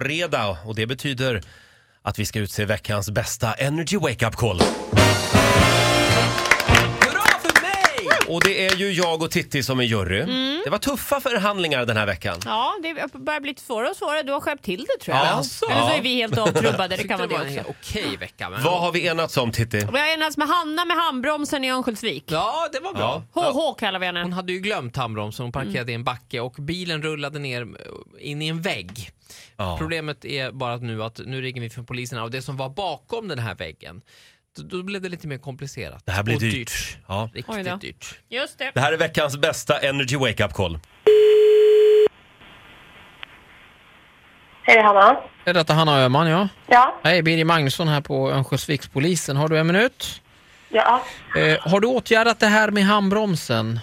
fredag och det betyder att vi ska utse veckans bästa Energy Wake Up Call. Hurra för mig! Och det är ju jag och Titti som är jury. Det var tuffa förhandlingar den här veckan. Ja, det börjar bli svårare och svårare. Du har skärpt till det tror jag. Ja, alltså. Eller så är vi helt avtrubbade, det kan vara Det det var en också. helt okej vecka. Men... Vad har vi enats om Titti? Och jag enades med Hanna med handbromsen i Örnsköldsvik. Ja, det var bra. HH kallar vi Hon henne. hade ju glömt handbromsen, hon parkerade i en backe och bilen rullade ner eh, in i en vägg. Ja. Problemet är bara att nu att nu ringer vi från polisen och det som var bakom den här väggen, då, då blev det lite mer komplicerat. Det här blir och dyrt. dyrt. Ja. Oj då. Riktigt dyrt. Just det. Det här är veckans bästa Energy Wake Up Call. Hej Hanna. Är detta Hanna Öhman, ja? Ja, Hej, Birger Magnusson här på Örnsköldsvikspolisen. Har du en minut? Eh, ja. har du åtgärdat det här med handbromsen?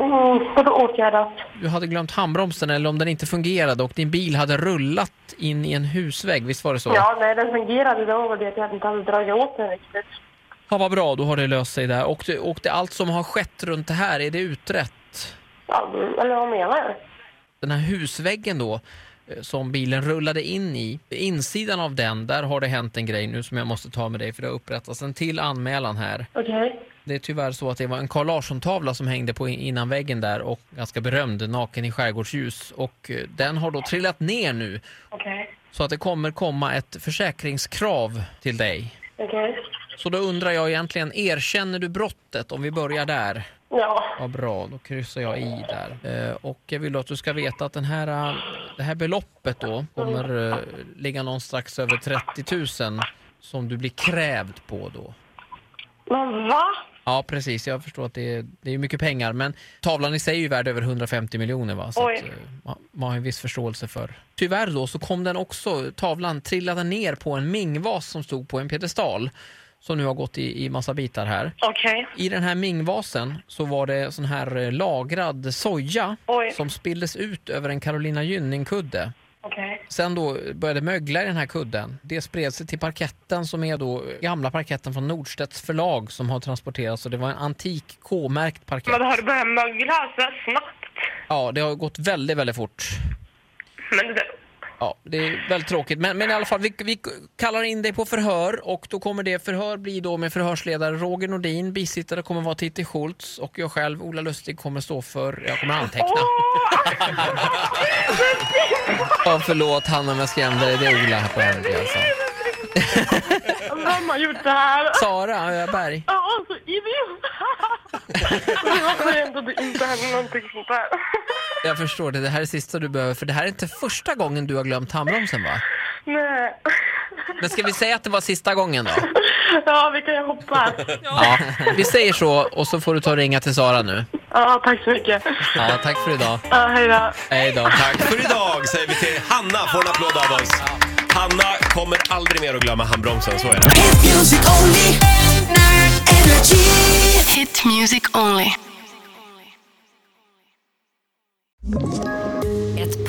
Mm, ska du åtgärdas? Du hade glömt handbromsen eller om den inte fungerade och din bil hade rullat in i en husvägg, visst var det så? Ja, nej den fungerade då var det att jag inte hade dragit åt den riktigt. Ja, vad bra, då har det löst sig där. Och, det, och det, allt som har skett runt det här, är det utrett? Ja, mm, eller vad menar du? Den här husväggen då, eh, som bilen rullade in i, insidan av den, där har det hänt en grej nu som jag måste ta med dig för det har upprättats en till anmälan här. Okej. Det är tyvärr så att det var en Carl Larsson-tavla som hängde på in- innanväggen där och ganska berömd, naken i skärgårdsljus. Och eh, den har då trillat ner nu Okej. så att det kommer komma ett försäkringskrav till dig. Okej. Så då undrar jag egentligen, erkänner du brottet om vi börjar där? Ja. Vad bra, då kryssar jag i där. Eh, och jag vill då att du ska veta att den här, eh, det här beloppet då kommer eh, ligga någon strax över 30 000 som du blir krävd på då. Men va? Ja, precis. Jag förstår att det är, det är mycket pengar, men tavlan i sig är ju värd över 150 miljoner. Va? Så Oj. att, eh, man, man har en viss förståelse för. Tyvärr då så kom den också, tavlan trillade ner på en mingvas som stod på en piedestal som nu har gått i, i massa bitar här. Okej. I den här mingvasen så var det sån här eh, lagrad soja Oj. som spilldes ut över en Carolina Gynning-kudde. Okej. Sen då började mögla i den här kudden. Det spred sig till parketten som är då eh, gamla parketten från Nordstedts förlag som har transporterats och det var en antik K-märkt parkett. Men har du börjat mögla så här snabbt? Ja, det har gått väldigt, väldigt fort. Men det där... Ja, det är väldigt tråkigt. Men, men i alla fall, vi, vi kallar in dig på förhör och då kommer det förhör bli då med förhörsledare Roger Nordin, bisittare kommer vara Titti Schultz och jag själv, Ola Lustig, kommer stå för, jag kommer anteckna. Ja, förlåt Hanna om jag skrämde dig, det är Ola här på Henrik alltså. Vem har gjort det här? Sara Öberg. Ja, så idiot! Det var skönt att det inte hände någonting sånt där. Jag förstår det, det här är sista du behöver för det här är inte första gången du har glömt handbromsen va? Nej. Men ska vi säga att det var sista gången då? Ja, vi kan ju hoppas. Ja, vi säger så och så får du ta och ringa till Sara nu. Ja, tack så mycket. Ja, tack för idag. Ja, hej då. Hej då. Tack för idag säger vi till Hanna, får en applåd av oss. Hanna kommer aldrig mer att glömma handbromsen, så är det. Hit music only. Energy. Hit music only. Ett